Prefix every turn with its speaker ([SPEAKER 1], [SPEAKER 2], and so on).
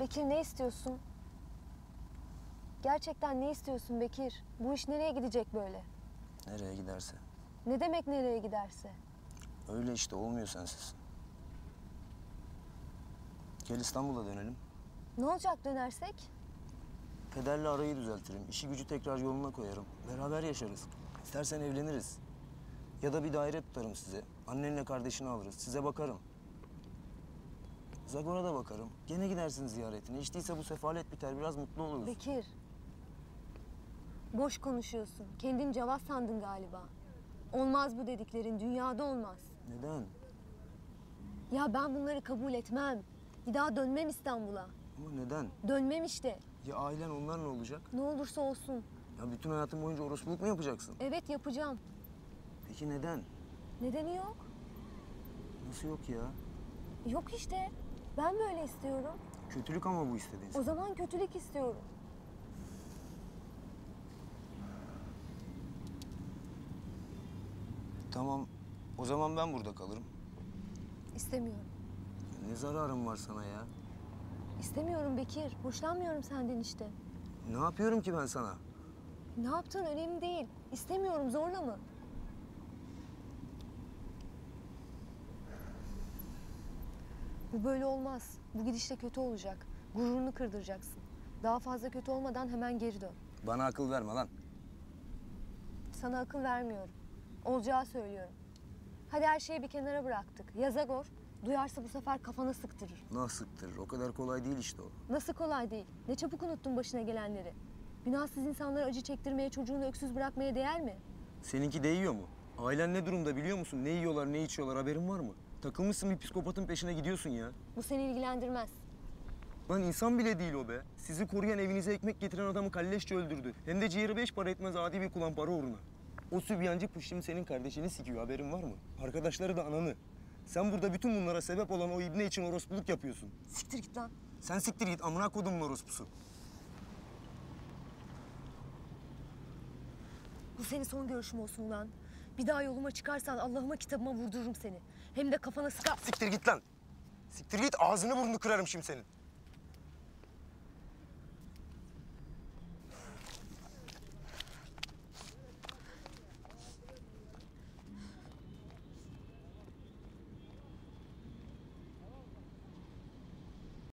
[SPEAKER 1] Bekir ne istiyorsun? Gerçekten ne istiyorsun Bekir? Bu iş nereye gidecek böyle?
[SPEAKER 2] Nereye giderse.
[SPEAKER 1] Ne demek nereye giderse?
[SPEAKER 2] Öyle işte olmuyor sensiz. Gel İstanbul'a dönelim.
[SPEAKER 1] Ne olacak dönersek?
[SPEAKER 2] Pederle arayı düzeltirim. İşi gücü tekrar yoluna koyarım. Beraber yaşarız. İstersen evleniriz. Ya da bir daire tutarım size. Annenle kardeşini alırız. Size bakarım. Zagor'a da bakarım. Gene gidersin ziyaretine. Hiç değilse bu sefalet biter. Biraz mutlu oluruz.
[SPEAKER 1] Bekir. Boş konuşuyorsun. Kendin cevap sandın galiba. Olmaz bu dediklerin. Dünyada olmaz.
[SPEAKER 2] Neden?
[SPEAKER 1] Ya ben bunları kabul etmem. Bir daha dönmem İstanbul'a.
[SPEAKER 2] Ama neden?
[SPEAKER 1] Dönmem işte.
[SPEAKER 2] Ya ailen onlar ne olacak?
[SPEAKER 1] Ne olursa olsun.
[SPEAKER 2] Ya bütün hayatın boyunca orospuluk mu yapacaksın?
[SPEAKER 1] Evet yapacağım.
[SPEAKER 2] Peki neden?
[SPEAKER 1] Nedeni yok.
[SPEAKER 2] Nasıl yok ya?
[SPEAKER 1] Yok işte. Ben böyle istiyorum.
[SPEAKER 2] Kötülük ama bu istediğin.
[SPEAKER 1] O zaman kötülük istiyorum.
[SPEAKER 2] Tamam. O zaman ben burada kalırım.
[SPEAKER 1] İstemiyorum.
[SPEAKER 2] Ne zararım var sana ya?
[SPEAKER 1] İstemiyorum Bekir. Hoşlanmıyorum senden işte.
[SPEAKER 2] Ne yapıyorum ki ben sana?
[SPEAKER 1] Ne yaptığın önemli değil. İstemiyorum zorla mı? Bu böyle olmaz. Bu gidişle kötü olacak. Gururunu kırdıracaksın. Daha fazla kötü olmadan hemen geri dön.
[SPEAKER 2] Bana akıl verme lan.
[SPEAKER 1] Sana akıl vermiyorum. Olacağı söylüyorum. Hadi her şeyi bir kenara bıraktık. Yazagor duyarsa bu sefer kafana sıktırır.
[SPEAKER 2] Nah sıktırır. O kadar kolay değil işte o.
[SPEAKER 1] Nasıl kolay değil? Ne çabuk unuttun başına gelenleri. Günahsız insanlara acı çektirmeye, çocuğunu öksüz bırakmaya değer mi?
[SPEAKER 2] Seninki değiyor mu? Ailen ne durumda biliyor musun? Ne yiyorlar, ne içiyorlar haberin var mı? Takılmışsın bir psikopatın peşine gidiyorsun ya.
[SPEAKER 1] Bu seni ilgilendirmez.
[SPEAKER 2] Lan insan bile değil o be. Sizi koruyan evinize ekmek getiren adamı kalleşçe öldürdü. Hem de ciğeri beş para etmez adi bir kulan para uğruna. O sübyancı puşim senin kardeşini sikiyor haberin var mı? Arkadaşları da ananı. Sen burada bütün bunlara sebep olan o ibne için orospuluk yapıyorsun.
[SPEAKER 1] Siktir git lan.
[SPEAKER 2] Sen siktir git amına kodumun orospusu.
[SPEAKER 1] Bu senin son görüşüm olsun lan. Bir daha yoluma çıkarsan Allah'ıma kitabıma vurdururum seni. Hem de kafana sıkar.
[SPEAKER 2] Siktir git lan. Siktir git ağzını burnunu kırarım şimdi senin.